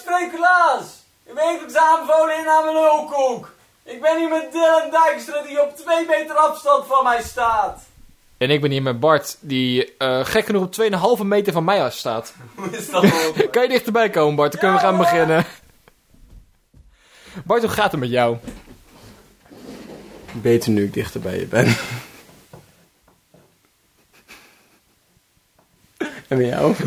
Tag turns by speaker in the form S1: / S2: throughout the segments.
S1: Nicolaas! Je wekelijks aanbevolen inname in Hulkoek. Ik ben hier met Dylan Dijkstra die op twee meter afstand van mij staat.
S2: En ik ben hier met Bart, die eh, gek genoeg op 2,5 meter van mij af staat.
S1: Hoe is dat mogelijk?
S2: Kan je dichterbij komen, Bart? Dan kunnen we
S1: Ja,
S2: gaan
S1: hoor.
S2: beginnen. Bart, hoe gaat het met jou?
S3: Beter nu ik dichter bij je ben. en bij jou?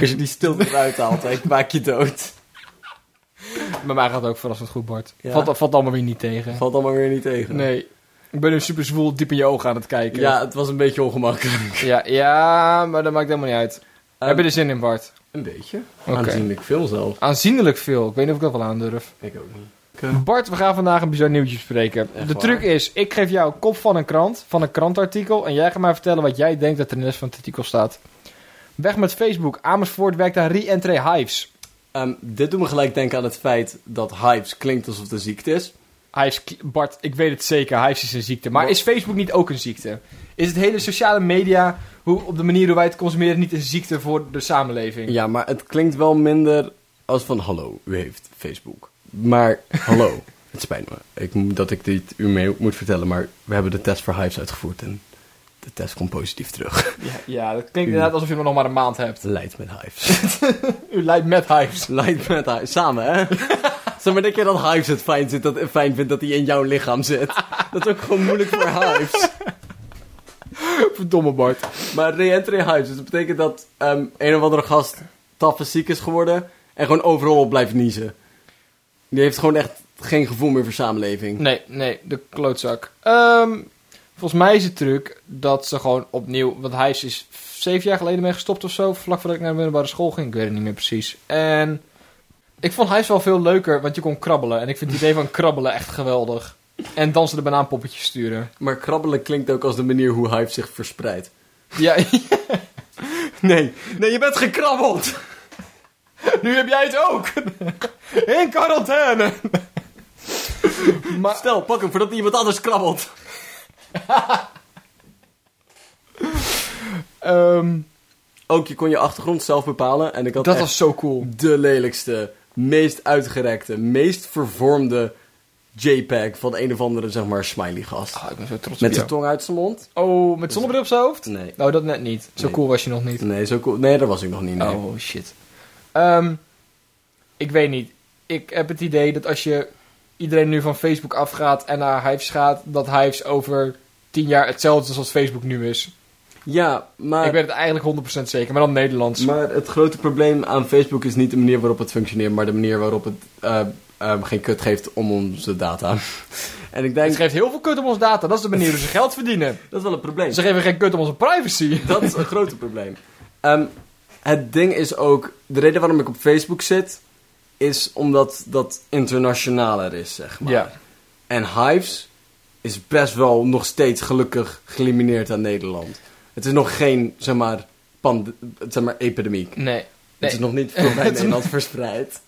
S3: Als je die stilte eruit haalt, ik maak je dood.
S2: Bij mij gaat het ook verrassend goed, Bart.
S3: Ja.
S2: Valt, valt allemaal weer niet tegen.
S3: Valt allemaal weer niet tegen.
S2: Nee. Ik ben nu super zwoel diep in je ogen aan het kijken.
S3: Ja, het was een beetje ongemakkelijk.
S2: ja, ja, maar dat maakt helemaal niet uit.
S3: Ehm.
S2: Heb je er zin in, Bart?
S3: Een beetje.
S2: Oké.
S3: Aanzienlijk veel zelf.
S2: Aanzienlijk veel. Ik weet niet of ik dat wel aandurf.
S3: Ik ook niet.
S2: Bart, we gaan vandaag een bizar nieuwtje bespreken.
S3: Echt
S2: de
S3: waar?
S2: truc is, ik geef jou een kop van een krant, van een krantartikel... en jij gaat mij vertellen wat jij denkt dat er in de rest van het artikel staat. Weg met Facebook. Amersfoort werkt aan re-entry hives.
S3: Ehm, dit doet me gelijk denken aan het feit dat hypes klinkt alsof het een ziekte is.
S2: Hives, Bart, ik weet het zeker, hives is een ziekte. Maar
S3: Wat?
S2: is Facebook niet ook een ziekte? Is het hele sociale media, hoe, op de manier hoe wij het consumeren... niet een ziekte voor de samenleving?
S3: Ja, maar het klinkt wel minder als van hallo, u heeft Facebook. Maar hallo, het spijt me ik, moet- dat ik dit u mee moet vertellen, maar we hebben de test voor Hives uitgevoerd en de test komt positief terug.
S2: Ja, ja, dat klinkt inderdaad alsof je nog maar een maand hebt.
S3: Leid met Hives.
S2: U lijdt met hives.
S3: Leid met Hives. Samen, hè? Zeg maar, denk je dat Hives het fijn, zit, dat, fijn vindt dat hij in jouw lichaam zit? Dat is ook gewoon moeilijk voor Hives.
S2: Verdomme, Bart.
S3: Maar re-entry Hives, dus dat betekent dat ehm, een of andere gast taffe ziek is geworden en gewoon overal op blijft niezen. Die heeft gewoon echt geen gevoel meer voor samenleving.
S2: Nee, nee, de klootzak. Ehm, volgens mij is het truc dat ze gewoon opnieuw... Want hij is dus zeven jaar geleden mee gestopt of zo. Vlak voordat ik naar de middelbare school ging. Ik weet het niet meer precies. En ik vond hij wel veel leuker, want je kon krabbelen. En ik vind het idee van krabbelen echt geweldig. En dansen de banaanpoppetjes sturen.
S3: Maar krabbelen klinkt ook als de manier hoe Hive zich verspreidt.
S2: Ja,
S3: Nee, nee, je bent gekrabbeld!
S2: nu heb jij het ook. In quarantaine. Maar,
S3: Stel, pak hem voordat iemand anders krabbelt.
S2: ehm,
S3: Ook, je kon je achtergrond zelf bepalen en ik had
S2: dat
S3: echt
S2: was zo cool.
S3: de lelijkste, meest uitgerekte, meest vervormde JPEG van een of andere, zeg maar, smiley gast.
S2: Ah, ik ben zo trots
S3: Met
S2: op jou.
S3: zijn tong uit zijn mond.
S2: Oh, met zonnebril op zijn hoofd?
S3: Nee.
S2: Nou, dat net niet. Zo
S3: Nee.
S2: cool was je nog niet.
S3: Nee, zo cool. nee, daar was ik nog niet. Nee.
S2: Oh shit. Ehm, ik weet niet. Ik heb het idee dat als je iedereen nu van Facebook afgaat en naar Hives gaat, dat Hives over 10 jaar hetzelfde is als Facebook nu is.
S3: Ja, maar...
S2: ik weet het eigenlijk 100% zeker, maar dan Nederlands.
S3: Maar het grote probleem aan Facebook is niet de manier waarop het functioneert, maar de manier waarop het eh, eh, geen kut geeft om onze data. en ik denk,
S2: Het geeft heel veel kut om onze data. Dat is de manier hoe ze geld verdienen.
S3: dat is wel een probleem.
S2: Ze geven geen kut om onze privacy.
S3: Dat is een grote probleem. Ehm, het ding is ook, de reden waarom ik op Facebook zit, is omdat dat internationaler is, zeg maar.
S2: Ja.
S3: En Hives is best wel nog steeds gelukkig gelimineerd aan Nederland. Het is nog geen, zeg maar, pand zeg maar epidemiek.
S2: Nee.
S3: Het
S2: nee.
S3: is nog niet veel bij
S2: Het is
S3: Nederland verspreid.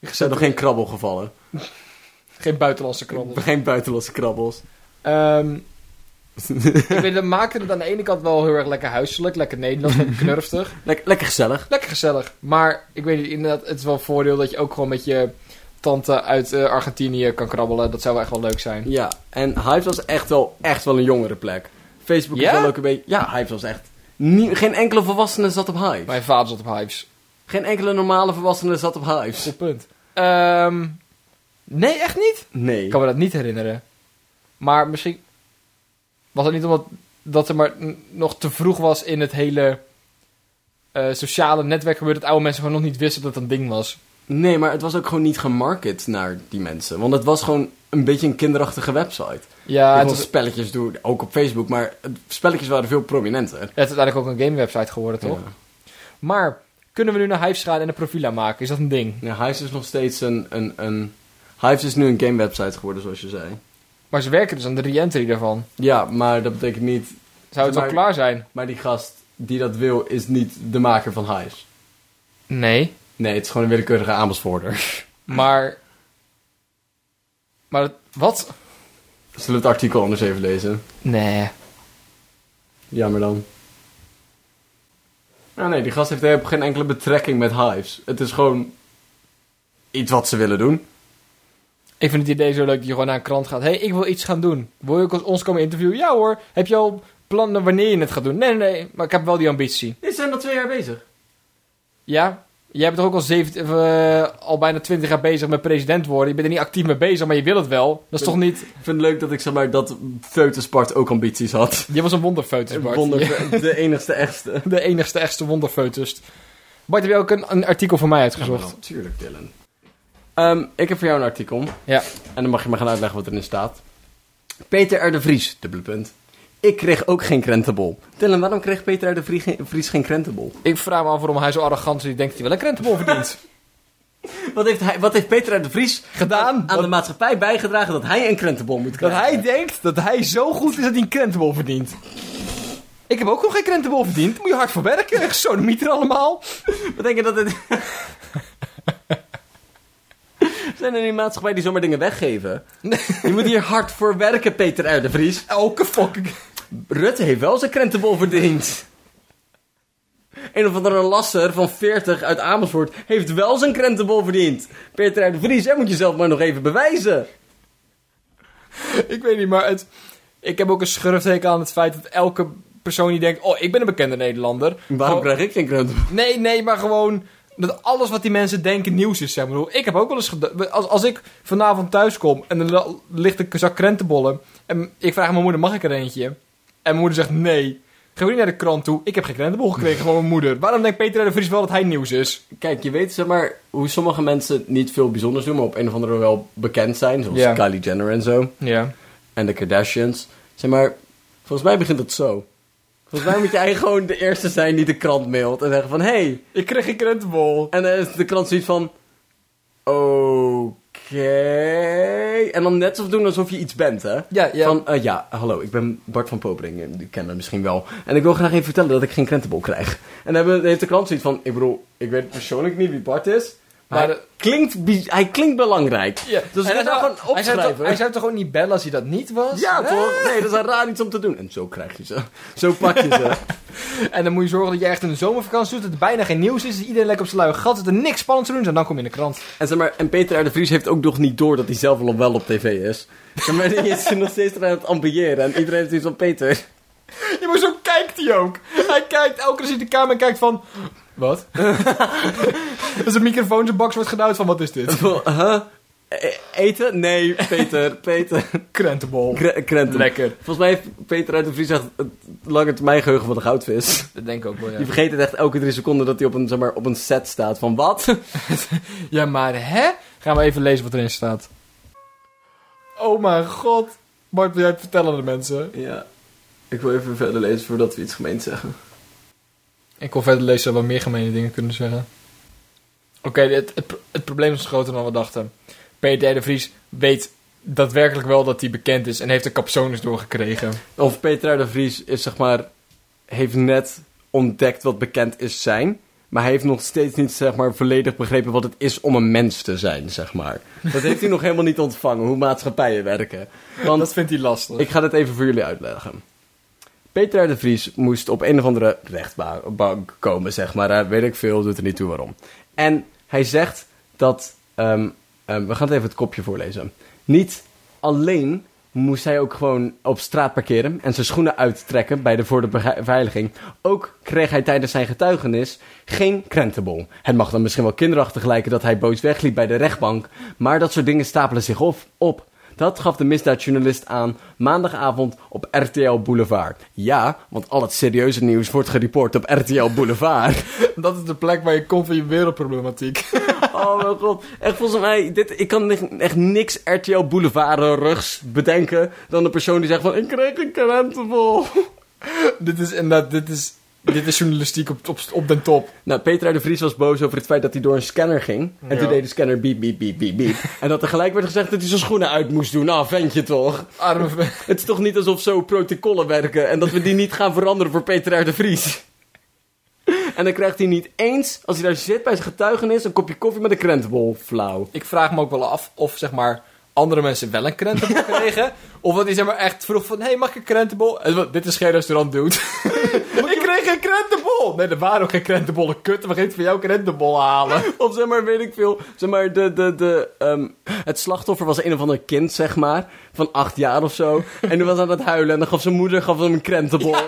S3: Er zijn nog geen krabbelgevallen.
S2: Geen buitenlandse krabbel.
S3: Geen buitenlandse krabbels.
S2: Ehm ik weet, dat maakte het aan de ene kant wel heel erg lekker huiselijk, lekker Nederlands, lekker knurftig.
S3: Lek- lekker gezellig.
S2: Lekker gezellig. Maar ik weet niet, inderdaad, het is wel een voordeel dat je ook gewoon met je tante uit eh, Argentinië kan krabbelen. Dat zou wel echt wel leuk zijn.
S3: Ja, en Hives was echt wel, echt wel een jongere plek. Facebook
S2: Ja?
S3: is wel ook een beetje... Ja, Hives was echt... nie- geen enkele volwassene zat op Hives.
S2: Mijn vader zat op Hives.
S3: Geen enkele normale volwassene zat op Hives.
S2: Goed punt. Ehm, nee, echt niet?
S3: Nee.
S2: Ik kan me dat niet herinneren. Maar misschien was het niet omdat dat er maar n- nog te vroeg was in het hele eh, sociale netwerk gebeurde dat oude mensen gewoon nog niet wisten dat het een ding was.
S3: Nee, maar het was ook gewoon niet gemarket naar die mensen. Want het was gewoon een beetje een kinderachtige website.
S2: Ja,
S3: het
S2: het, was,
S3: spelletjes doen, ook op Facebook, maar het- spelletjes waren veel prominenter.
S2: het is uiteindelijk ook een gamewebsite geworden, toch?
S3: Ja.
S2: Maar kunnen we nu naar Hives gaan en een profiel aanmaken? Is dat een ding?
S3: Ja, Hives is nog steeds een, een, een... Hives is nu een gamewebsite geworden, zoals je zei.
S2: Maar ze werken dus aan de re-entry daarvan.
S3: Ja, maar dat betekent niet...
S2: Zou het wel
S3: Maar-
S2: klaar zijn?
S3: Maar die gast die dat wil, is niet de maker van Hives.
S2: Nee.
S3: Nee, het is gewoon een willekeurige aanbesvoorder.
S2: Maar. Maar het- wat?
S3: Zullen we het artikel anders even lezen?
S2: Nee.
S3: Jammer dan. Nou nee, die gast heeft helemaal geen enkele betrekking met hives. Het is gewoon iets wat ze willen doen.
S2: Ik vind het idee zo leuk dat je gewoon naar een krant gaat. Hé, hey, ik wil iets gaan doen. Wil je ook als ons komen interviewen? Ja hoor. Heb je al plannen wanneer je het gaat doen? Nee, nee, nee. Maar ik heb wel die ambitie.
S3: Dit zijn al twee jaar bezig.
S2: Ja? Jij bent toch ook al, 17 of, eh, al bijna 20 jaar bezig met president worden. Je bent er niet actief mee bezig, maar je wil het wel. Dat is toch niet...
S3: Ik vind het leuk dat ik zeg maar dat Feutenspart ook ambities had.
S2: Je was een wonderfeutus, Bart.
S3: Wonder,
S2: Ja,
S3: De enigste echtste.
S2: de enigste echtste wonderfeutus. Bart, heb je ook een, een artikel van mij uitgezocht?
S3: Tuurlijk, Dylan. Ehm, ik heb voor jou een artikel.
S2: Ja.
S3: En dan mag je me gaan uitleggen wat erin staat. Peter R. de Vries, dubbele punt. Ik kreeg ook geen krentenbol. Dylan, waarom kreeg Peter R. de Vrie- Vries geen, krentenbol?
S2: Ik vraag me af waarom hij zo arrogant is. Ik denk dat hij wel een krentenbol verdient.
S3: Wat heeft, hij, wat heeft Peter R. de Vries
S2: Gedaan?
S3: aan de maatschappij bijgedragen dat hij een krentenbol moet
S2: Dat
S3: krijgen?
S2: hij denkt dat hij zo goed is dat hij een krentenbol verdient. Ik heb ook nog geen krentenbol verdiend. Moet je hard voor werken. Sodemieter allemaal.
S3: Wat denk je dat het... Zijn er in die maatschappij die zomaar dingen weggeven? Je moet hier hard voor werken, Peter R. de Vries.
S2: Elke fucking...
S3: Rutte heeft wel zijn krentenbol verdiend. Een of andere lasser van 40 uit Amersfoort heeft wel zijn krentenbol verdiend. Peter R. de Vries, jij moet jezelf maar nog even bewijzen.
S2: Ik weet niet, maar het... Ik heb ook een schurfteken aan het feit dat elke persoon die denkt... Oh, ik ben een bekende Nederlander.
S3: Waarom
S2: Oh,
S3: krijg ik geen krentenbol?
S2: Nee, nee, maar gewoon... Dat alles wat die mensen denken nieuws is, zeg maar. Ik heb ook wel eens... ged- Als, als ik vanavond thuis kom en er la- ligt een zak krentenbollen... En ik vraag aan mijn moeder, mag ik er eentje? En mijn moeder zegt nee. Gaan we niet naar de krant toe? Ik heb geen krentenbol gekregen van mijn moeder. Waarom denkt Peter R. de Vries wel dat hij nieuws is?
S3: Kijk, je weet zeg maar hoe sommige mensen niet veel bijzonders doen, maar op een of andere manier wel bekend zijn. Zoals
S2: Ja.
S3: Kylie Jenner en zo.
S2: Ja.
S3: en de Kardashians. Zeg maar, volgens mij begint het zo. Volgens mij moet jij gewoon de eerste zijn die de krant mailt en zeggen van, hé. Hey.
S2: Ik kreeg geen krentenbol.
S3: En dan is de krant zoiets van, oké. En dan net alsof doen alsof je iets bent, hè.
S2: Ja, ja.
S3: Van, eh, ja, hallo, ik ben Bart van Popering, eh, die kennen we misschien wel. En ik wil graag even vertellen dat ik geen krentenbol krijg. En dan hebben- heeft de krant zoiets van, ik bedoel, ik weet persoonlijk niet wie Bart is... Maar,
S2: Maar
S3: hij, klinkt, bi- hij klinkt belangrijk.
S2: Ja.
S3: Dus
S2: En
S3: ik
S2: hij
S3: ga
S2: zou-
S3: gewoon
S2: hij zou, toch,
S3: opschrijven.
S2: hij zou toch ook niet bellen als hij dat niet was?
S3: Ja,
S2: Hè?
S3: toch? Nee, dat is een raar iets om te doen. En zo krijg je ze. Zo pak je ze.
S2: En dan moet je zorgen dat je echt een zomervakantie doet, dat er bijna geen nieuws is, dat iedereen lekker op zijn luie gat zit, dat er niks spannends te doen is, en dan kom je in de krant.
S3: En, zeg maar, en Peter R. de Vries heeft ook nog niet door dat hij zelf al op- wel op tv is. Zeg maar, die is nog steeds aan het ambiëren. En iedereen heeft iets van Peter.
S2: Ja, maar zo kijkt hij ook. Hij kijkt, elke keer zit de kamer en kijkt van... Wat? Als de microfoon zijn box wordt geduwd van, wat is dit?
S3: Huh? E- Eten? Nee, Peter. Peter.
S2: Krentenbol.
S3: Kre- Krenten.
S2: Lekker.
S3: Volgens mij heeft Peter R. de Vries echt het lange termijn geheugen van de goudvis.
S2: Dat denk ik ook wel, ja.
S3: Die vergeet het echt elke drie seconden dat hij op een, zeg maar, op een set staat van wat?
S2: Ja, maar hè? Gaan we even lezen wat erin staat. Oh mijn god. Bart, wil jij het vertellen aan de mensen?
S3: Ja. Ik wil even verder lezen voordat we iets gemeens zeggen.
S2: Ik wil verder lezen wat meer gemene dingen kunnen zeggen. Oké, het, het, pro- het probleem is groter dan we dachten. Peter R. de Vries weet daadwerkelijk wel dat hij bekend is en heeft de capsones doorgekregen.
S3: Of Peter R. de Vries is zeg maar, heeft net ontdekt wat bekend is zijn. Maar hij heeft nog steeds niet zeg maar, volledig begrepen wat het is om een mens te zijn, zeg maar. Dat heeft hij nog helemaal niet ontvangen, hoe maatschappijen werken. Want
S2: Dat vindt hij lastig.
S3: ik ga dit even voor jullie uitleggen. Peter R. de Vries moest op een of andere rechtbank komen, zeg maar. Hè. Weet ik veel, doet er niet toe waarom. En hij zegt dat... ehm, ehm, we gaan het even het kopje voorlezen. Niet alleen moest hij ook gewoon op straat parkeren... en zijn schoenen uittrekken bij de, voor de beve- beveiliging. Ook kreeg hij tijdens zijn getuigenis geen krentenbol. Het mag dan misschien wel kinderachtig lijken dat hij boos wegliep bij de rechtbank... maar dat soort dingen stapelen zich op. op. Dat gaf de misdaadjournalist aan maandagavond op RTL Boulevard. Ja, want al het serieuze nieuws wordt gereport op RTL Boulevard.
S2: Dat is de plek waar je komt van je wereldproblematiek.
S3: oh mijn god. Echt volgens mij, dit, ik kan echt- echt niks RTL Boulevard-rugs bedenken dan de persoon die zegt van ik kreeg een krentenbol.
S2: dit is inderdaad, dit is, dit is journalistiek op, op, op den top.
S3: Nou, Peter R. de Vries was boos over het feit dat hij door een scanner ging. En
S2: Ja.
S3: toen deed de scanner biep, biep, biep, biep, biep. en dat tegelijk werd gezegd dat hij zijn schoenen uit moest doen. Nou, ventje toch.
S2: Arme...
S3: Het is toch niet alsof zo protocollen werken en dat we die niet gaan veranderen voor Peter R. de Vries. En dan krijgt hij niet eens, als hij daar zit bij zijn getuigenis, een kopje koffie met een krentenbol. Flauw.
S2: Ik vraag me ook wel af of zeg maar andere mensen wel een krentenbol Eh, kregen. of dat hij zeg maar echt vroeg van, hé, hey, mag ik een krentenbol? En wat, dit is geen restaurant, dude. ik kreeg kreeg geen krentenbol. Nee, er waren ook geen krentenbollen. Kut, we gaan van jou krentenbollen halen.
S3: Of zeg maar, weet ik veel. Zeg maar, de, de, de, ehm, het slachtoffer was een of ander kind, zeg maar. Van acht jaar of zo. En die was aan het huilen. En dan gaf zijn moeder gaf hem een krentenbol.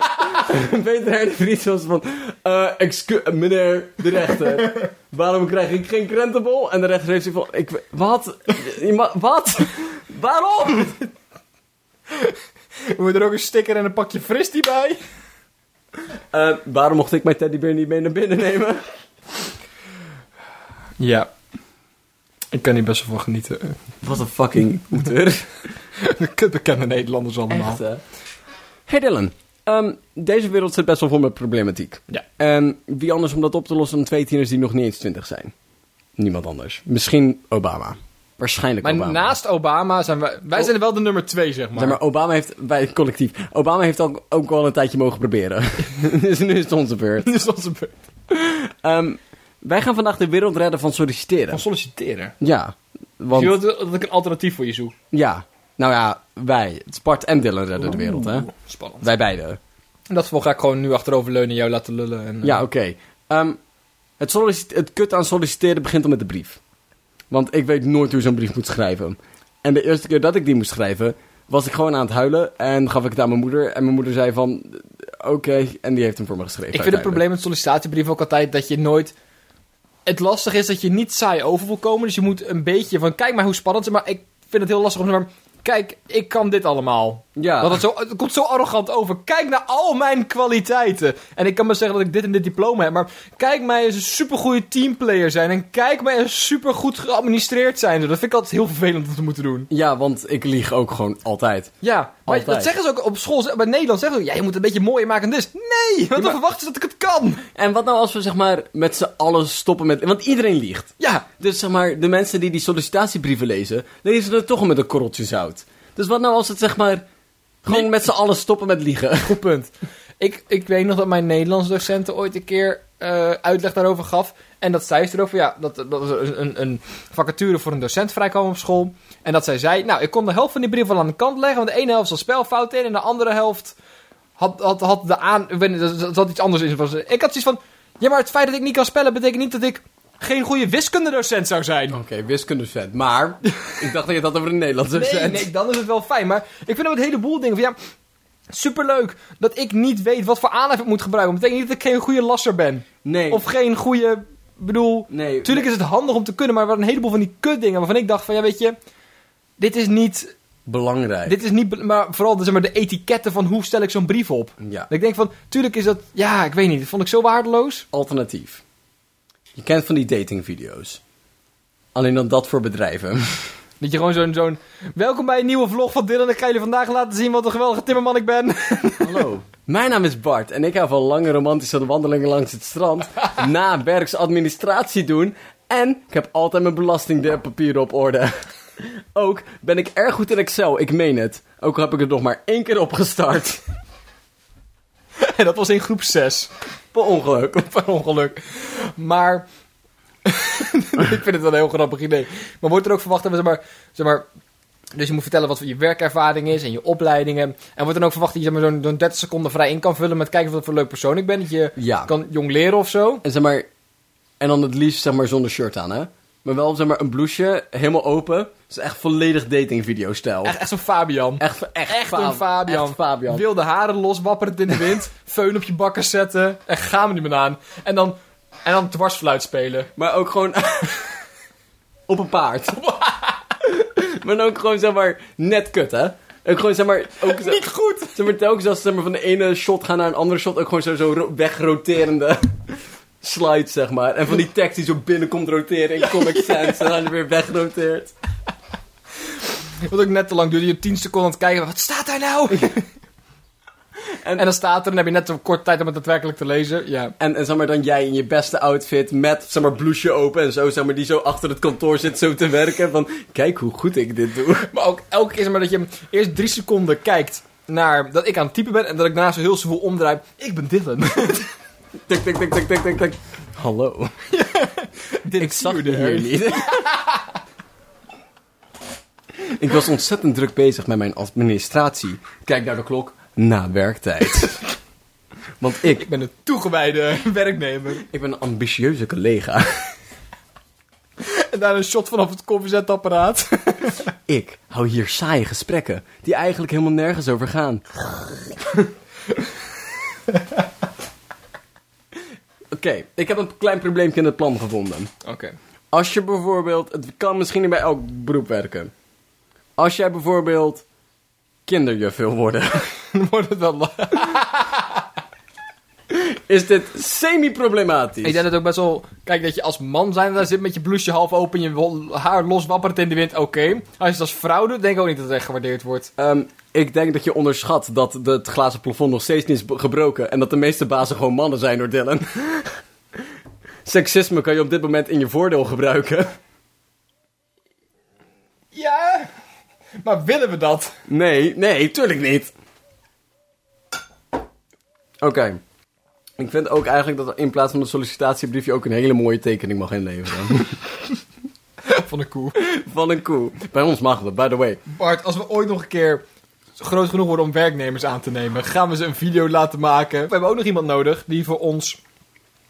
S3: Peter R. de Vries was van... eh excu- eh, meneer de rechter. Waarom krijg ik geen krentenbol? En de rechter heeft zich van... Ik, wat? Je ma- wat? Waarom?
S2: We moeten er ook een sticker en een pakje fristie bij.
S3: Eh, waarom mocht ik mijn teddybeer niet mee naar binnen nemen?
S2: Ja. Ik kan hier best wel van genieten.
S3: Wat een fucking moeder.
S2: Kut bekende Nederlanders allemaal.
S3: Echt, hè? Hey Dylan. Ehm, deze wereld zit best wel vol met problematiek.
S2: Ja.
S3: En wie anders om dat op te lossen dan twee tieners die nog niet eens twintig zijn? Niemand anders. Misschien Obama. Waarschijnlijk
S2: Maar
S3: Obama. Oh.
S2: naast Obama zijn wij... Wij zijn wel de nummer twee, zeg maar.
S3: Zeg maar, Obama heeft, bij het collectief, Obama heeft ook, ook al een tijdje mogen proberen. dus nu is het onze beurt.
S2: Dit is onze beurt.
S3: Ehm, wij gaan vandaag de wereld redden van solliciteren.
S2: Van solliciteren.
S3: Ja.
S2: Zie je
S3: Want,
S2: wat, dat ik een alternatief voor je zoek?
S3: ja. Nou ja, wij, Spart en Dylan redden de wereld, hè?
S2: Spannend.
S3: Wij beiden.
S2: Dat geval ga ik gewoon nu achteroverleunen en jou laten lullen. En, eh,
S3: Ja, oké. Ehm, het, sollicit- het kut aan solliciteren begint al met de brief. Want ik weet nooit hoe zo'n brief moet schrijven. En de eerste keer dat ik die moest schrijven, was ik gewoon aan het huilen. En gaf ik het aan mijn moeder. En mijn moeder zei van, oké. En die heeft hem voor me geschreven.
S2: Ik vind het
S3: uiteindelijk.
S2: probleem met sollicitatiebrieven ook altijd dat je nooit... Het lastig is dat je niet saai over wil komen. Dus je moet een beetje van... Kijk maar hoe spannend het is. Maar ik vind het heel lastig om te zeggen... Kijk, ik kan dit allemaal.
S3: Ja.
S2: Want het, zo, het komt zo arrogant over. Kijk naar al mijn kwaliteiten. En ik kan maar zeggen dat ik dit en dit diploma heb. Maar kijk mij eens een supergoeie teamplayer zijn. En kijk mij eens supergoed geadministreerd zijn. Dat vind ik altijd heel vervelend om te moeten doen.
S3: Ja, want ik lieg ook gewoon altijd.
S2: Ja, maar
S3: Altijd.
S2: dat zeggen ze ook op school. Bij Nederland zeggen ze ook... Ja, je moet een beetje mooier maken dan dit. Nee, want dan verwachten ze dat ik het kan.
S3: En wat nou als we zeg maar met z'n allen stoppen met... Want iedereen liegt.
S2: Ja,
S3: Dus zeg maar, de mensen die die sollicitatiebrieven lezen, lezen het toch al met een korreltje zout. Dus wat nou als het zeg maar gewoon met z'n allen stoppen met liegen?
S2: Goed punt. Ik, ik weet nog dat mijn Nederlands docenten ooit een keer eh, uitleg daarover gaf. En dat zij erover, ja, dat, dat was een, een- een vacature voor een docent vrijkwam op school. En dat zij zei, nou, ik kon de helft van die brief wel aan de kant leggen. Want de ene helft zat spelfout in en de andere helft had, had, had de aan... Ik weet niet, dat, dat had iets anders in. Het was- Ik had zoiets van, ja, maar het feit dat ik niet kan spellen betekent niet dat ik geen goede wiskundedocent zou zijn.
S3: Oké, wiskundevent. Maar ik dacht dat je het had over een Nederlandse
S2: Nee,
S3: docent.
S2: nee, dan is het wel fijn. Maar ik vind ook een heleboel dingen van ja. Superleuk dat ik niet weet wat voor aanhef ik moet gebruiken. Dat betekent niet dat ik geen goede lasser ben.
S3: nee.
S2: Of geen goede. bedoel.
S3: nee.
S2: Natuurlijk is het handig om te kunnen, maar er waren een heleboel van die kutdingen waarvan ik dacht: van ja, weet je. Dit is niet.
S3: Belangrijk.
S2: Dit is niet be- maar vooral de, zeg maar, de etiketten van hoe stel ik zo'n brief op.
S3: Ja.
S2: Dat ik denk van. Tuurlijk is dat. Ja, ik weet niet. Dat vond ik zo waardeloos.
S3: Alternatief. Je kent van die datingvideo's. Alleen dan dat voor bedrijven.
S2: Dat je gewoon zo'n. zo'n Welkom bij een nieuwe vlog van Dylan. Ik ga jullie vandaag laten zien wat een geweldige timmerman ik ben.
S3: Hallo. Mijn naam is Bart en ik hou van lange romantische wandelingen langs het strand. na werks administratie doen. En ik heb altijd mijn belastingpapieren op orde. Ook ben ik erg goed in Excel, ik meen het. Ook al heb ik het nog maar één keer opgestart.
S2: en dat was in groep 6.
S3: Per ongeluk.
S2: per ongeluk. Maar. ik vind het wel een heel grappig idee. Maar wordt er ook verwacht dat we, zeg maar, zeg maar. Dus je moet vertellen wat je werkervaring is en je opleidingen. En wordt dan ook verwacht dat je zeg maar, zo'n zo'n 30 seconden vrij in kan vullen met kijken of dat voor een leuk persoon ik ben. Dat je
S3: Ja.
S2: kan jong leren of zo.
S3: En zeg maar, en dan het liefst zeg maar zonder shirt aan, hè? Maar wel zeg maar een blouseje, helemaal open. Het is echt volledig datingvideo-stijl.
S2: Echt, echt zo'n Fabian.
S3: echt, echt,
S2: Echt een Fabian.
S3: Echt Fabian.
S2: Wilde haren los, wapperend in de wind. Feun op je bakken zetten. En ga me niet meer aan. En dan, en dan dwarsfluit spelen.
S3: Maar ook gewoon op een paard. maar dan ook gewoon zeg maar net kut, hè? Ook gewoon zeg maar, ook zo-
S2: Niet goed!
S3: zeg maar telkens als ze zeg maar, van de ene shot gaan naar een andere shot, ook gewoon zo, zo ro- wegroterende slides, zeg maar. En van die tekst die zo binnen komt roteren in Comic Sans en dan weer wegroteert.
S2: Wat ook net te lang duurde. Je 10 seconden aan het kijken. Wat staat daar nou? en,
S3: En-
S2: dan staat er. En dan heb je net een kort tijd om het daadwerkelijk te lezen. Ja.
S3: En, en zeg maar dan jij in je beste outfit met zeg maar blouseje open en zo, zeg maar, die zo achter het kantoor zit zo te werken. Van kijk hoe goed ik dit doe.
S2: Maar ook elke keer zeg maar dat je eerst 3 seconden kijkt naar dat ik aan het typen ben. En dat ik na zo heel zoveel omdraai. Ik ben Dylan.
S3: Tik, tik, tik, tik, tik, tik, tik. Hallo. Ik zag je hier niet. ik was ontzettend druk bezig met mijn administratie. Kijk naar de klok. Na werktijd. Want ik,
S2: Ik ben een toegewijde werknemer.
S3: ik ben een ambitieuze collega.
S2: En daar een shot vanaf het koffiezetapparaat.
S3: Ik hou hier saaie gesprekken die eigenlijk helemaal nergens over gaan. Oké, ik heb een klein probleempje in het plan gevonden.
S2: Oké.
S3: Als je bijvoorbeeld, het kan misschien niet bij elk beroep werken. Als jij bijvoorbeeld kinderjuf wil worden,
S2: Dan wordt het wel la-
S3: is dit semi-problematisch.
S2: Ik denk dat ook best wel... Kijk, dat je als man zijn daar zit met je blouseje half open... en je hol- haar los wappert in de wind, oké. Als je het als vrouw doet, denk ik ook niet dat het echt gewaardeerd wordt.
S3: Ehm, ik denk dat je onderschat dat de- het glazen plafond nog steeds niet is b- gebroken. En dat de meeste bazen gewoon mannen zijn door Dylan. Seksisme kan je op dit moment in je voordeel gebruiken.
S2: Ja, maar willen we dat?
S3: Nee, nee, tuurlijk niet. Oké. Ik vind ook eigenlijk dat in plaats van een sollicitatiebrief je ook een hele mooie tekening mag inleveren.
S2: Van de koe.
S3: van een koe. Bij ons mag dat, by the way.
S2: Bart, als we ooit nog een keer groot genoeg worden om werknemers aan te nemen... gaan we ze een video laten maken. We hebben ook nog iemand nodig die voor ons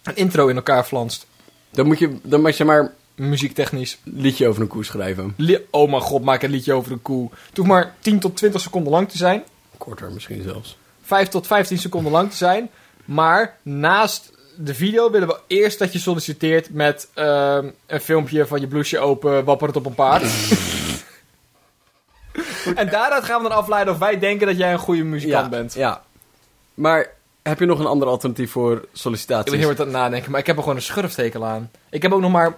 S2: een intro in elkaar flanst.
S3: Dan moet je, dan mag je maar een
S2: Muziektechnisch.
S3: liedje over een koe schrijven.
S2: Li- oh mijn god, maak een liedje over een koe. Het hoeft maar 10 tot 20 seconden lang te zijn.
S3: Korter misschien zelfs.
S2: 5 tot 15 seconden lang te zijn. Maar naast de video willen we eerst dat je solliciteert met ehm, een filmpje van je blouseje open, wapperend op een paard. en daaruit gaan we dan afleiden of wij denken dat jij een goede muzikant
S3: ja,
S2: bent.
S3: Ja. Maar heb je nog een ander alternatief voor
S2: Ik
S3: sollicitaties?
S2: ben heel hard aan het nadenken, maar ik heb er gewoon een schurftekel aan. Ik heb ook nog maar...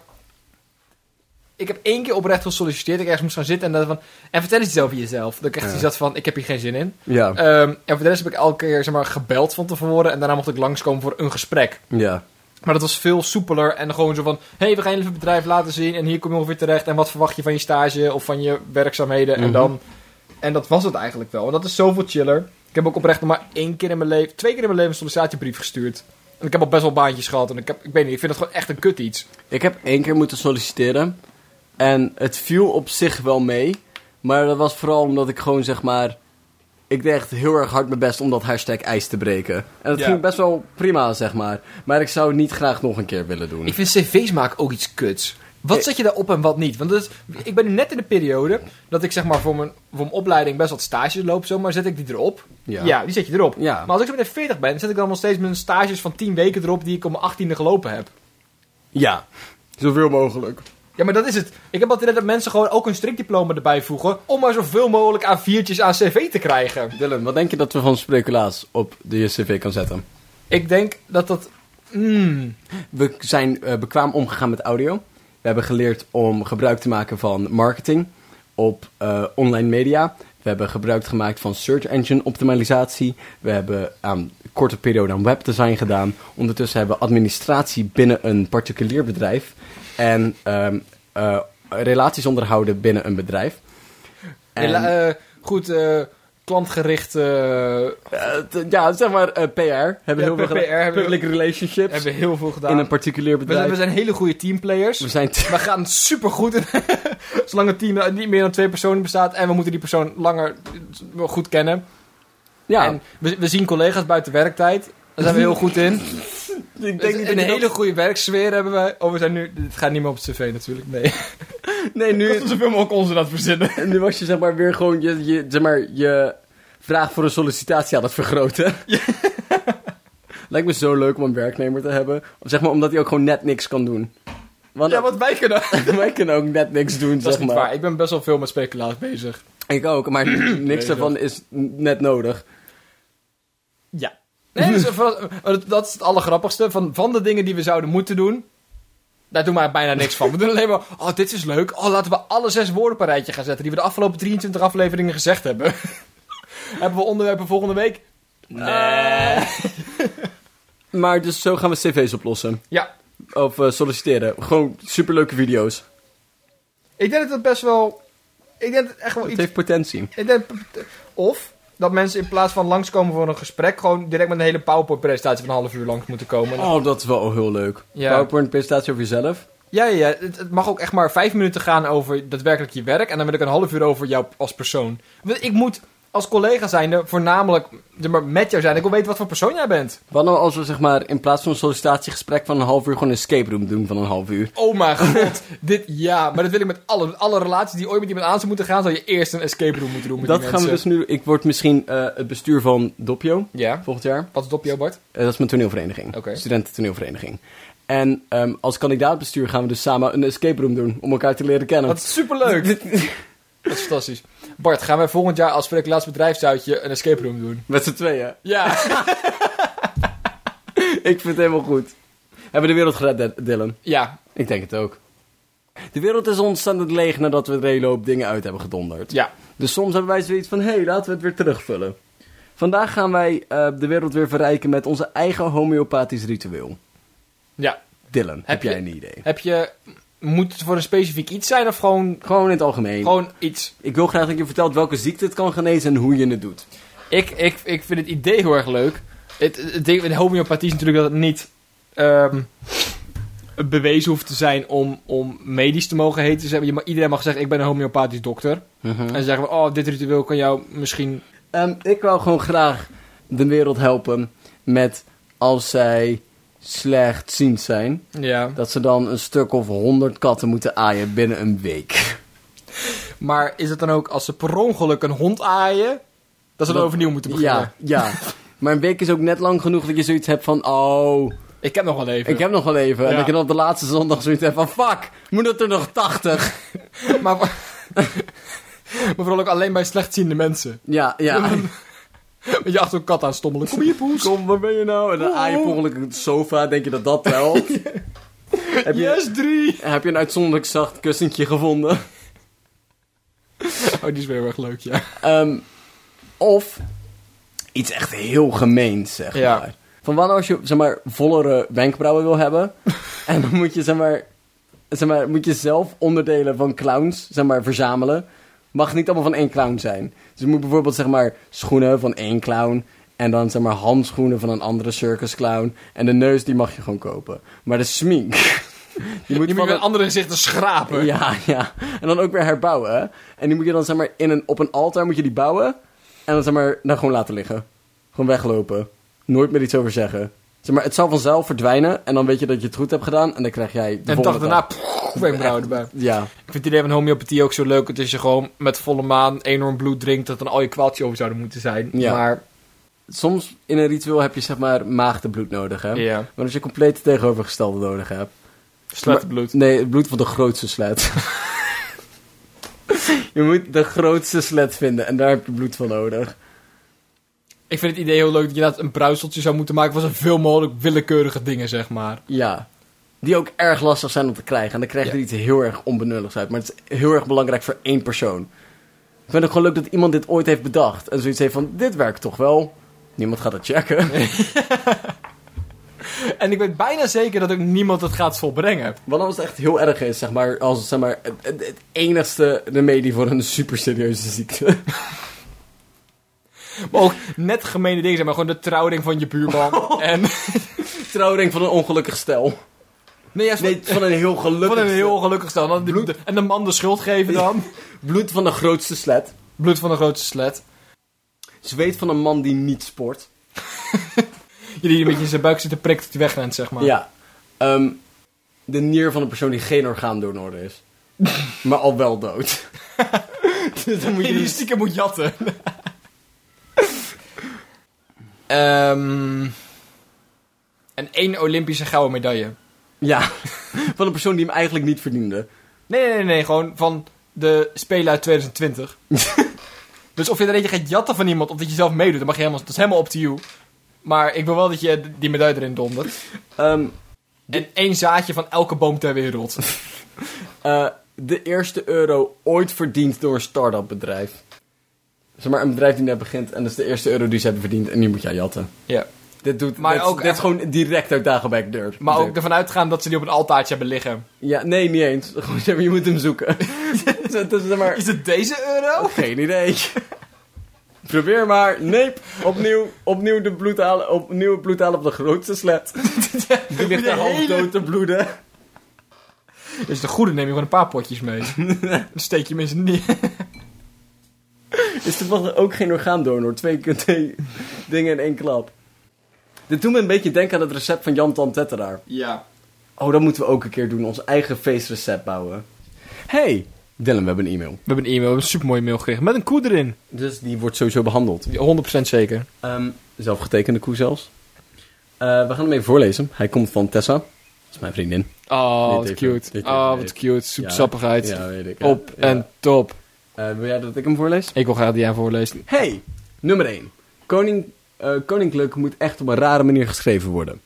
S2: Ik heb één keer oprecht gesolliciteerd. Ik ergens moest gaan zitten en dan van... En vertel eens iets over jezelf. Dan krijg je
S3: Ja.
S2: iets dat van, ik heb hier geen zin in.
S3: Ja,
S2: Ehm, en voor de rest heb ik elke keer zeg maar, gebeld van tevoren. En daarna mocht ik langskomen voor een gesprek.
S3: ja.
S2: Maar dat was veel soepeler en gewoon zo van... Hé, hey, we gaan jullie het bedrijf laten zien en hier kom je ongeveer terecht. En wat verwacht je van je stage of van je werkzaamheden
S3: Mhm.
S2: en dan... En dat was het eigenlijk wel. En dat is zoveel chiller. Ik heb ook oprecht nog maar één keer in mijn leven... Twee keer in mijn leven een sollicitatiebrief gestuurd. En ik heb al best wel baantjes gehad. En ik, heb, ik weet niet, ik vind dat gewoon echt een kut iets.
S3: Ik heb één keer moeten solliciteren. En het viel op zich wel mee. Maar dat was vooral omdat ik gewoon zeg maar... Ik deed echt heel erg hard mijn best om dat hashtag ijs te breken. En dat
S2: Ja.
S3: ging best wel prima, zeg maar. Maar ik zou het niet graag nog een keer willen doen.
S2: Ik vind cv's maken ook iets kuts. Wat
S3: Ik-
S2: zet je daarop en wat niet? Want dat is- ik ben nu net in de periode dat ik zeg maar voor mijn, voor mijn opleiding best wat stages loop. Zomaar zet ik die erop. Ja, die zet je erop.
S3: Ja.
S2: Maar als ik zo meteen 40 ben, zet ik dan nog steeds mijn stages van 10 weken erop die ik om mijn 18e gelopen heb.
S3: Ja. Zoveel mogelijk.
S2: Ja, maar dat is het. Ik heb altijd net dat mensen gewoon ook een strikdiploma erbij voegen om maar zoveel mogelijk aan viertjes aan cv te krijgen.
S3: Dylan, wat denk je dat we van speculaas op de cv kan zetten?
S2: Ik denk dat dat... Mm,
S3: We zijn eh, bekwaam omgegaan met audio. We hebben geleerd om gebruik te maken van marketing op eh, online media. We hebben gebruik gemaakt van search engine optimalisatie. We hebben aan een korte periode aan webdesign gedaan. Ondertussen hebben we administratie binnen een particulier bedrijf. En ehm, eh, relaties onderhouden binnen een bedrijf. En,
S2: hela- eh, goed, eh, klantgericht... eh,
S3: eh, t- ja, zeg maar eh, PR. Hebben
S2: Ja,
S3: we heel veel
S2: PR
S3: gedaan.
S2: hebben we-
S3: Public relationships
S2: hebben we heel veel gedaan.
S3: in een particulier
S2: we, zijn-
S3: bedrijf.
S2: we zijn hele goede teamplayers.
S3: We zijn
S2: We gaan supergoed. in- Zolang het team eh, niet meer dan twee personen bestaat. En we moeten die persoon langer eh, goed kennen.
S3: ja,
S2: En we, we zien collega's buiten werktijd. Daar zijn we heel goed in.
S3: ik
S2: een
S3: dat je dat-
S2: hele goede werksfeer hebben wij. Oh, we zijn nu... Het gaat niet meer op het cv natuurlijk, nee.
S3: Nee, nu,
S2: zoveel mogelijk ons dat verzinnen.
S3: nu was je zeg maar weer gewoon je, je, zeg maar, je vraag voor een sollicitatie aan het vergroten. Lijkt me zo leuk om een werknemer te hebben. Zeg maar omdat hij ook gewoon net niks kan doen. Want
S2: Ja, wat wij kunnen.
S3: wij kunnen ook net niks doen,
S2: Dat
S3: zeg
S2: is niet
S3: maar.
S2: waar. Ik ben best wel veel met speculaas bezig.
S3: Ik ook, maar niks
S2: Nee,
S3: daarvan is n- net nodig.
S2: Ja. Nee, dus, dat is, vooral- eh, dat- dat is het allergrappigste. Van, van de dingen die we zouden moeten doen, daar doen wij bijna niks van. We doen alleen maar, oh, dit is leuk. Oh, laten we alle zes woorden op een rijtje gaan zetten die we de afgelopen 23 afleveringen gezegd hebben. hebben we onderwerpen volgende week? Eh, Nee.
S3: Maar dus zo gaan we cv's oplossen.
S2: Ja,
S3: Of eh, solliciteren. Gewoon superleuke video's.
S2: Oh, ik denk dat het best wel... Ik denk dat het echt wel
S3: Het
S2: iets...
S3: heeft potentie.
S2: Ik denk, of dat mensen in plaats van langskomen voor een gesprek... gewoon direct met een hele PowerPoint-presentatie van een half uur langs moeten komen.
S3: Oh, dat is wel heel leuk.
S2: Ja.
S3: PowerPoint presentatie over jezelf.
S2: Ja, ja, ja. Het, het mag ook echt maar vijf minuten gaan over daadwerkelijk je werk. En dan wil ik een half uur over jou als persoon. Want Ik moet als collega zijnde voornamelijk zeg maar, met jou zijn. Ik wil weten wat voor persoon jij bent.
S3: Wat nou als we zeg maar in plaats van een sollicitatiegesprek van een half uur gewoon een escape room doen van een half uur?
S2: Oh mijn god, dit ja. Maar dat wil ik met alle, met alle relaties die ooit met iemand aan zou moeten gaan, zal je eerst een escape room moeten doen met
S3: dat
S2: die
S3: gaan we dus
S2: mensen.
S3: nu. Ik word misschien eh, het bestuur van Dopio
S2: Ja,
S3: volgend jaar.
S2: wat is het op jou, Bart?
S3: Eh, dat is mijn toneelvereniging.
S2: Oké.
S3: Studententoneelvereniging. En ehm, als kandidaatbestuur gaan we dus samen een escape room doen om elkaar te leren kennen.
S2: Dat is superleuk. dat is fantastisch. Bart, gaan wij volgend jaar als Freek laatste bedrijfsuitje een escape room doen?
S3: Met z'n tweeën.
S2: Ja,
S3: Ik vind het helemaal goed. Hebben we de wereld gered, Dil- Dylan?
S2: ja,
S3: Ik denk het ook. De wereld is ontzettend leeg nadat we de hele hoop dingen uit hebben gedonderd.
S2: ja.
S3: Dus soms hebben wij zoiets van, hé, hey, laten we het weer terugvullen. Vandaag gaan wij eh, de wereld weer verrijken met onze eigen homeopathisch ritueel.
S2: ja.
S3: Dylan, heb,
S2: je-
S3: jij een idee?
S2: Heb je, moet het voor een specifiek iets zijn of gewoon,
S3: Gewoon in het algemeen.
S2: gewoon iets?
S3: Ik wil graag dat je vertelt welke ziekte het kan genezen en hoe je het doet.
S2: Ik, ik, ik vind het idee heel erg leuk. Het, het ding met homeopathie is natuurlijk dat het niet ehm, bewezen hoeft te zijn om, om medisch te mogen heten. Dus je mag- iedereen mag zeggen, ik ben een homeopathisch dokter. En zeggen we, oh, dit ritueel kan jou misschien...
S3: Ehm, ik wou gewoon graag de wereld helpen met als zij slechtziend zijn,
S2: Ja.
S3: dat ze dan een stuk of honderd katten moeten aaien binnen een week.
S2: Maar is het dan ook als ze per ongeluk een hond aaien, dat ze dan
S3: Dat-
S2: overnieuw moeten beginnen?
S3: Ja, ja. Maar een week is ook net lang genoeg dat je zoiets hebt van, oh,
S2: Ik heb nog wel even.
S3: ik heb nog wel even. En
S2: Ja.
S3: dat je dan op de laatste zondag zoiets hebt van, fuck, moet het er nog 80?
S2: Maar, maar vooral ook alleen bij slechtziende mensen.
S3: Ja, ja.
S2: Met je achter een kat aan stommelen. Kom hier, poes.
S3: Kom, waar ben je nou? En dan aai je per ongeluk het sofa, denk je dat dat telt? heb, je,
S2: Yes, drie.
S3: heb je een uitzonderlijk zacht kussentje gevonden?
S2: Oh, die is weer heel erg leuk, ja.
S3: Ehm, of iets echt heel gemeens, zeg
S2: Ja.
S3: maar. Van waar nou als je, zeg maar, vollere wenkbrauwen wil hebben... en dan moet je, zeg maar, zeg maar, moet je zelf onderdelen van clowns, zeg maar, verzamelen. Mag niet allemaal van één clown zijn. Dus je moet bijvoorbeeld, zeg maar, schoenen van één clown... en dan, zeg maar, handschoenen van een andere circusclown... en de neus, die mag je gewoon kopen. Maar de smink... Die
S2: Je moet
S3: van
S2: met
S3: een-
S2: andere gezichten schrapen.
S3: ja, ja. En dan ook weer herbouwen. hè. En die moet je dan zeg maar in een, op een altaar moet je die bouwen. En dan zeg maar dan gewoon laten liggen. Gewoon weglopen. Nooit meer iets over zeggen. Zeg maar, het zal vanzelf verdwijnen. En dan weet je dat je het goed hebt gedaan. En dan krijg jij de
S2: en de dag
S3: volgende
S2: daarna, pff, wenkbrauwen erbij.
S3: Ja.
S2: Ik vind het idee van homeopathie ook zo leuk. Het is je gewoon met volle maan enorm bloed drinkt. Dat dan al je kwaaltjes over zouden moeten zijn.
S3: Ja.
S2: Maar,
S3: Soms in een ritueel heb je zeg maar maagdenbloed nodig, hè.
S2: ja.
S3: Maar als je compleet het tegenovergestelde nodig hebt.
S2: Slecht bloed.
S3: Nee, het bloed van de grootste slet. je moet de grootste slet vinden. En daar heb je bloed van nodig.
S2: Ik vind het idee heel leuk dat je inderdaad een bruiseltje zou moeten maken. Van zoveel mogelijk willekeurige dingen, zeg maar.
S3: Ja. Die ook erg lastig zijn om te krijgen. En dan krijg je
S2: Ja.
S3: er iets heel erg onbenulligs uit. Maar het is heel erg belangrijk voor één persoon. Ik vind het gewoon leuk dat iemand dit ooit heeft bedacht. En zoiets heeft van, dit werkt toch wel? Niemand gaat het checken.
S2: En ik weet bijna zeker dat ook niemand het gaat volbrengen.
S3: Wat als het echt heel erg is, zeg maar. Als zeg maar, het, het, het enigste remedie voor een super serieuze ziekte.
S2: Maar ook net gemene dingen zijn. Maar gewoon de trouwring van je buurman. En,
S3: Trouwring van een ongelukkig stel.
S2: nee, ja,
S3: Nee, van een heel gelukkig
S2: Van een heel
S3: stel.
S2: gelukkig stel. Dan die- en de man de schuld geven dan.
S3: Bloed van de grootste slet.
S2: Bloed van de grootste slet.
S3: Zweet van een man die niet sport.
S2: Jullie een beetje in zijn buik zitten prikken tot hij wegrent, zeg maar.
S3: Ja. Ehm, de nier van een persoon die geen orgaandonor is. maar al wel dood. dus dan moet je
S2: Die
S3: dus...
S2: stiekem moet jatten. Ehm en één Olympische gouden medaille.
S3: Ja. van een persoon die hem eigenlijk niet verdiende.
S2: Nee, nee, nee, nee. Gewoon van de Spelen uit 2020. dus of je er eentje gaat jatten van iemand of dat je zelf meedoet, dan mag je helemaal, dat is helemaal op to you. Maar ik wil wel dat je die medaille erin dondert.
S3: Ehm,
S2: En één zaadje van elke boom ter wereld.
S3: eh, de eerste euro ooit verdiend door een start-up bedrijf. Zeg maar, een bedrijf die net begint en dat is de eerste euro die ze hebben verdiend en die moet jij jatten.
S2: Ja.
S3: Dit doet
S2: Maar
S3: dit,
S2: ook
S3: dit
S2: echt-
S3: is gewoon direct uit Dagenbeck deur.
S2: Maar ook ervan uitgaan dat ze die op een altaartje hebben liggen.
S3: Ja, nee, niet eens. Gewoon, zeg maar, je moet hem zoeken. dat is zeg maar...
S2: Is het deze euro?
S3: Geen idee. Probeer maar. Nee. Opnieuw, opnieuw de bloed halen. Opnieuw het bloed halen op de grootste slet. Die ligt
S2: de
S3: er half
S2: hele-
S3: dood te bloeden.
S2: Dus de goede neem je gewoon een paar potjes mee. Dan steek je mensen niet.
S3: Is toevallig ook geen orgaandonor. Twee, twee dingen in één klap. Dit doet me een beetje denken aan het recept van Jan Tan Tetteraar.
S2: Ja.
S3: Oh, dat moeten we ook een keer doen. Ons eigen feestrecept bouwen. Hey, Dylan, we hebben een e-mail.
S2: We hebben een e-mail, we hebben een supermooie mail gekregen. Met een koe erin.
S3: Dus die wordt sowieso behandeld.
S2: 100% zeker.
S3: Ehm, zelfgetekende koe zelfs. Eh, we gaan hem even voorlezen. Hij komt van Tessa. Dat is mijn vriendin.
S2: Oh, wat
S3: even,
S2: cute.
S3: dit
S2: Oh,
S3: even,
S2: wat
S3: dit.
S2: cute. Zoetsappigheid.
S3: Ja, weet ik. ja.
S2: Op
S3: Ja.
S2: en top.
S3: Eh, wil jij dat ik hem voorlees?
S2: Ik wil graag die aan voorlezen.
S3: Hey, nummer 1. Koning, eh, koninklijk moet echt op een rare manier geschreven worden.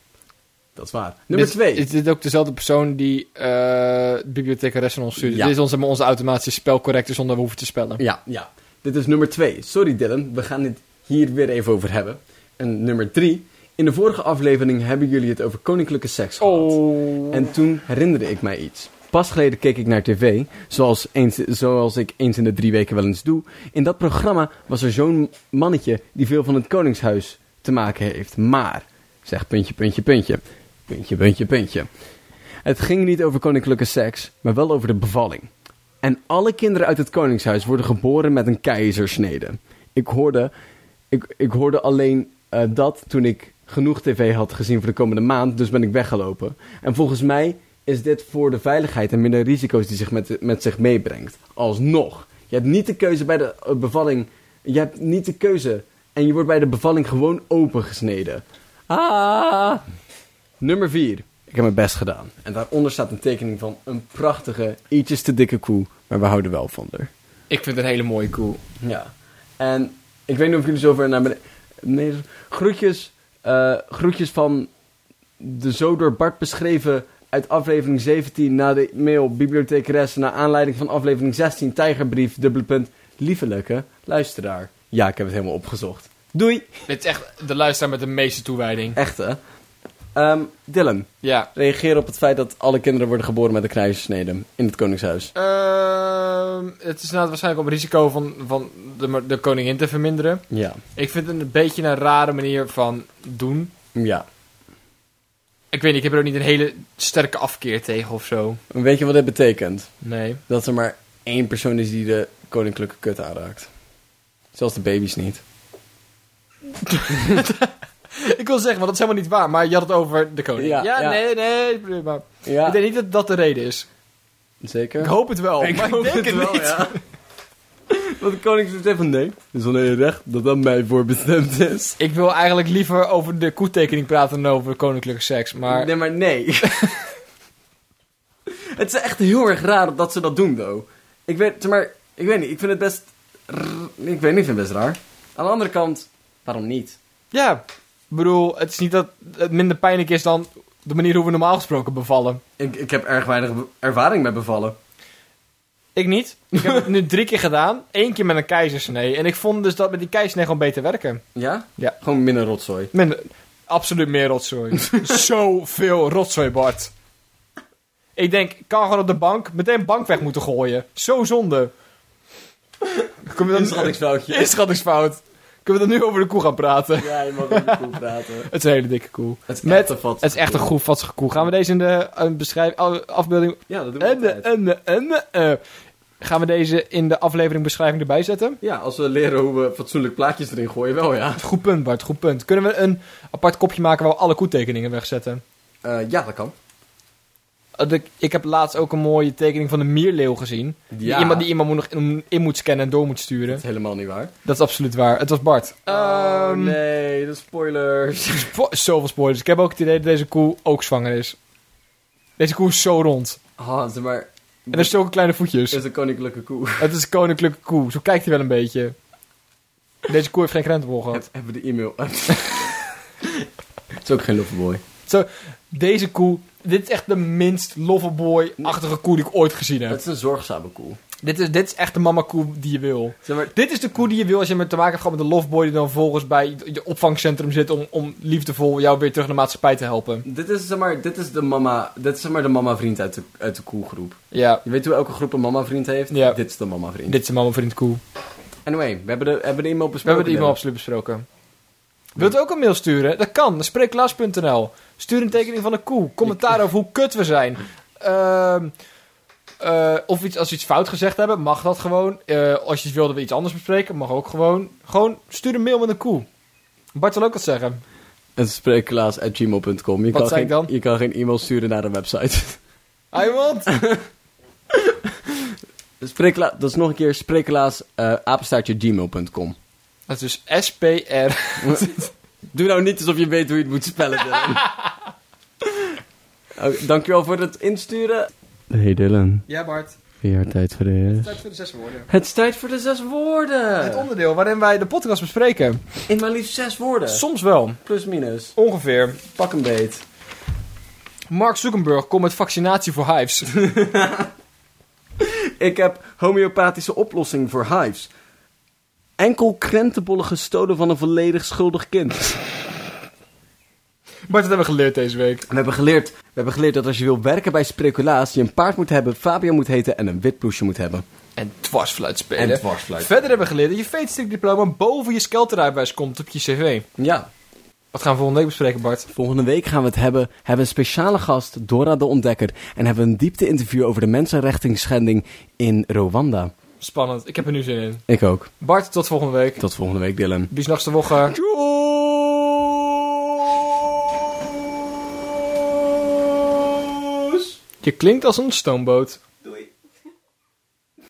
S3: Dat is waar. Nummer
S2: Dit-
S3: 2.
S2: Is dit ook dezelfde persoon die eh bibliothecares aan ons stuurde?
S3: Ja.
S2: Dit is onze, onze automatische spelcorrector zonder we hoeven te spellen.
S3: Ja, ja. Dit is nummer 2. Sorry Dylan, we gaan het hier weer even over hebben. En nummer 3. In de vorige aflevering hebben jullie het over koninklijke seks gehad.
S2: Oh.
S3: En toen herinnerde ik mij iets. Pas geleden keek ik naar tv, zoals, eens, zoals ik eens in de drie weken wel eens doe. In dat programma was er zo'n mannetje die veel van het Koningshuis te maken heeft. Maar, zeg puntje, puntje, puntje. Puntje, puntje, puntje. Het ging niet over koninklijke seks, maar wel over de bevalling. En alle kinderen uit het koningshuis worden geboren met een keizersnede. Ik hoorde, ik, ik hoorde alleen eh, dat toen ik genoeg tv had gezien voor de komende maand, dus ben ik weggelopen. En volgens mij is dit voor de veiligheid en minder risico's die zich met, met zich meebrengt. Alsnog. Je hebt niet de keuze bij de eh, bevalling. Je hebt niet de keuze. En je wordt bij de bevalling gewoon opengesneden. Ah! Nummer 4. Ik heb mijn best gedaan. En daaronder staat een tekening van een prachtige, ietsjes te dikke koe. Maar we houden wel van haar.
S2: Ik vind het een hele mooie koe.
S3: Ja. En ik weet niet of jullie zover naar beneden... Nee, groetjes, eh, groetjes van de zo door Bart beschreven uit aflevering 17... na de mail bibliothecares naar aanleiding van aflevering 16... tijgerbrief, dubbele punt, liefelijke luisteraar. Ja, ik heb het helemaal opgezocht. Doei!
S2: Dit is echt de luisteraar met de meeste toewijding.
S3: Echt, hè? Ehm, Dylan,
S2: Ja.
S3: reageren op het feit dat alle kinderen worden geboren met een kruissnede in het Koningshuis.
S2: Ehm, het is inderdaad waarschijnlijk op risico van, van de, de koningin te verminderen.
S3: Ja.
S2: Ik vind het een beetje een rare manier van doen.
S3: Ja.
S2: Ik weet niet, ik heb er ook niet een hele sterke afkeer tegen of zo.
S3: Weet je wat dit betekent?
S2: Nee.
S3: Dat er maar één persoon is die de koninklijke kut aanraakt. Zelfs de baby's niet.
S2: Ik wil zeggen, want dat is helemaal niet waar, maar je had het over de koning. Ja,
S3: Ja, ja.
S2: nee, nee. prima.
S3: Ja,
S2: Ik denk niet dat dat de reden is.
S3: zeker. Oh,
S2: Ik hoop het wel, maar ik denk het, niet.
S3: Want de koning zegt van nee. Het is alleen recht dat dat mij voor bestemd is.
S2: Ik wil eigenlijk liever over de koetekening praten dan over koninklijke seks, maar...
S3: Nee, maar nee. het is echt heel erg raar dat ze dat doen, though. Ik weet, maar, ik weet niet, ik vind het best... r- Ik weet niet, ik vind het best raar. Aan de andere kant, waarom niet?
S2: Ja, ik bedoel, het is niet dat het minder pijnlijk is dan de manier hoe we normaal gesproken bevallen.
S3: Ik, ik heb erg weinig be- ervaring met bevallen.
S2: Ik niet. Ik heb het nu drie keer gedaan. Eén keer met een keizersnee. En ik vond dus dat met die keizersnee gewoon beter werken.
S3: Ja?
S2: Ja.
S3: Gewoon minder rotzooi.
S2: Met absoluut meer rotzooi. Zoveel rotzooi, Bart. Ik denk, ik kan gewoon op de bank meteen bank weg moeten gooien. Zo zonde. Kom je dan...
S3: Inschattingsfoutje.
S2: Inschattingsfout. Kunnen we dan nu over de koe gaan praten?
S3: Ja, je mag ook niet goed praten.
S2: Het is een hele dikke koe.
S3: Het is
S2: Met-
S3: echt een vat.
S2: Het is echt een goed vatsige koe. Gaan we deze in de eh, beschrijving, af- afbeelding...
S3: Ja, dat doen we
S2: En,
S3: altijd.
S2: en, en, eh, gaan we deze in de aflevering beschrijving erbij zetten?
S3: Ja, als we leren hoe we fatsoenlijk plaatjes erin gooien, wel ja.
S2: Goed punt, Bart. Goed punt. Kunnen we een apart kopje maken waar we alle koetekeningen wegzetten?
S3: Eh, ja, dat kan.
S2: Eh, de- ik heb laatst ook een mooie tekening van een mierleeuw gezien. Die,
S3: Ja.
S2: iemand, die iemand moet nog in, in moet scannen en door moet sturen.
S3: Dat is helemaal niet waar.
S2: Dat is absoluut waar. Het was Bart.
S3: oh
S2: Ehm,
S3: nee, de spoilers.
S2: spo- zoveel spoilers. Ik heb ook het idee dat deze koe ook zwanger is. Deze koe is zo rond.
S3: Ah, zeg maar,
S2: En er zijn zulke kleine voetjes.
S3: is een koninklijke koe.
S2: Het is een koninklijke koe. Zo kijkt hij wel een beetje. Deze koe heeft geen krentenbol gehad.
S3: Heb- Hebben we de e-mail. Het is ook geen loverboy.
S2: Zo, deze koe... Dit is echt de minst loveboy-achtige koe die ik ooit gezien heb.
S3: Het is een zorgzame koe.
S2: Dit is, dit is echt de mama koe die je wil.
S3: Zeg maar,
S2: Dit is de koe die je wil als je met te maken hebt gehad met de loveboy... die dan volgens bij je opvangcentrum zit... om, om liefdevol jou weer terug naar de maatschappij te helpen.
S3: dit is, zeg maar, dit is de mama, dit is zeg maar de mama vriend uit de, uit de koegroep.
S2: Ja,
S3: Je weet hoe elke groep een mama vriend heeft?
S2: Ja.
S3: Dit is de mama vriend.
S2: dit is de mama vriend koe.
S3: Anyway, we hebben de, hebben de e-mail
S2: We
S3: besproken.
S2: hebben het e-mail absoluut besproken. Wilt u ook een mail sturen? Dat kan. Spreeklaas.nl Stuur een tekening van een koe. Commentaar over hoe kut we zijn. Ehm, eh, of iets, als we iets fout gezegd hebben, mag dat gewoon. Eh, als je wilde we iets anders bespreken, mag ook gewoon. Gewoon stuur een mail met een koe. Bart wil ook wat zeggen.
S3: En spreeklaas.gmail.com. Je
S2: Wat zei
S3: kan geen,
S2: ik dan?
S3: Je kan geen e-mail sturen naar een website.
S2: Hij want.
S3: Spreeklaas, dat is nog een keer spreeklaas, eh, apenstaartje gmail.com.
S2: Dat is dus SPR.
S3: Doe nou niet alsof je weet hoe je het moet spellen, Dylan. Oké, Oh, dankjewel voor het insturen. Hey Dylan,
S2: Ja, Bart.
S3: weer tijd voor de...
S2: Tijd voor de zes woorden.
S3: Het is tijd voor de zes woorden.
S2: Eh. Het onderdeel waarin wij de podcast bespreken.
S3: In maar liefst zes woorden.
S2: Soms wel.
S3: Plus minus.
S2: Ongeveer.
S3: Pak een beet.
S2: Mark Zuckerberg komt met vaccinatie voor hives.
S3: Ik heb homeopathische oplossing voor hives. Enkel krentenbollen gestolen van een volledig schuldig kind.
S2: Bart, dat hebben we geleerd deze week.
S3: We hebben geleerd, we hebben geleerd dat als je wil werken bij speculaas, je een paard moet hebben, Fabian moet heten en een wit bloesje moet hebben.
S2: En dwarsfluit spelen.
S3: En dwarsfluit.
S2: Verder hebben we geleerd dat je veetstikdiploma boven je skelterijbewijs komt op je cv.
S3: Ja.
S2: Wat gaan we volgende week bespreken, Bart?
S3: Volgende week gaan we het hebben, hebben een speciale gast, Dora de Ontdekker, en hebben een diepte-interview over de mensenrechtingsschending in Rwanda.
S2: Spannend. Ik heb er nu zin in.
S3: Ik ook.
S2: Bart, tot volgende week.
S3: Tot volgende week, Dylan.
S2: Bis nachts de woche. Je klinkt als een stoomboot.